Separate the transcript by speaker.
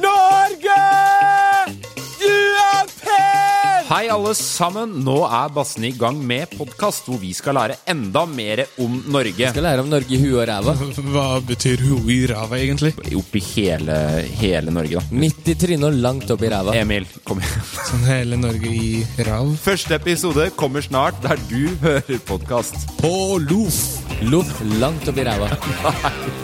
Speaker 1: Norge! Du er pen!
Speaker 2: Hei alle sammen, nå er Bassen i gang med podkast hvor vi skal lære enda mer om Norge.
Speaker 3: skal lære om Norge i huet og ræva.
Speaker 1: Hva betyr hun i rava, egentlig?
Speaker 2: Oppi hele, hele Norge, da.
Speaker 3: Midt i trynet og langt opp i ræva.
Speaker 2: Emil, kom igjen.
Speaker 1: Sånn hele Norge i rav?
Speaker 2: Første episode kommer snart der du hører podkast.
Speaker 1: På loff!
Speaker 3: Loff langt opp i ræva.
Speaker 2: Nei.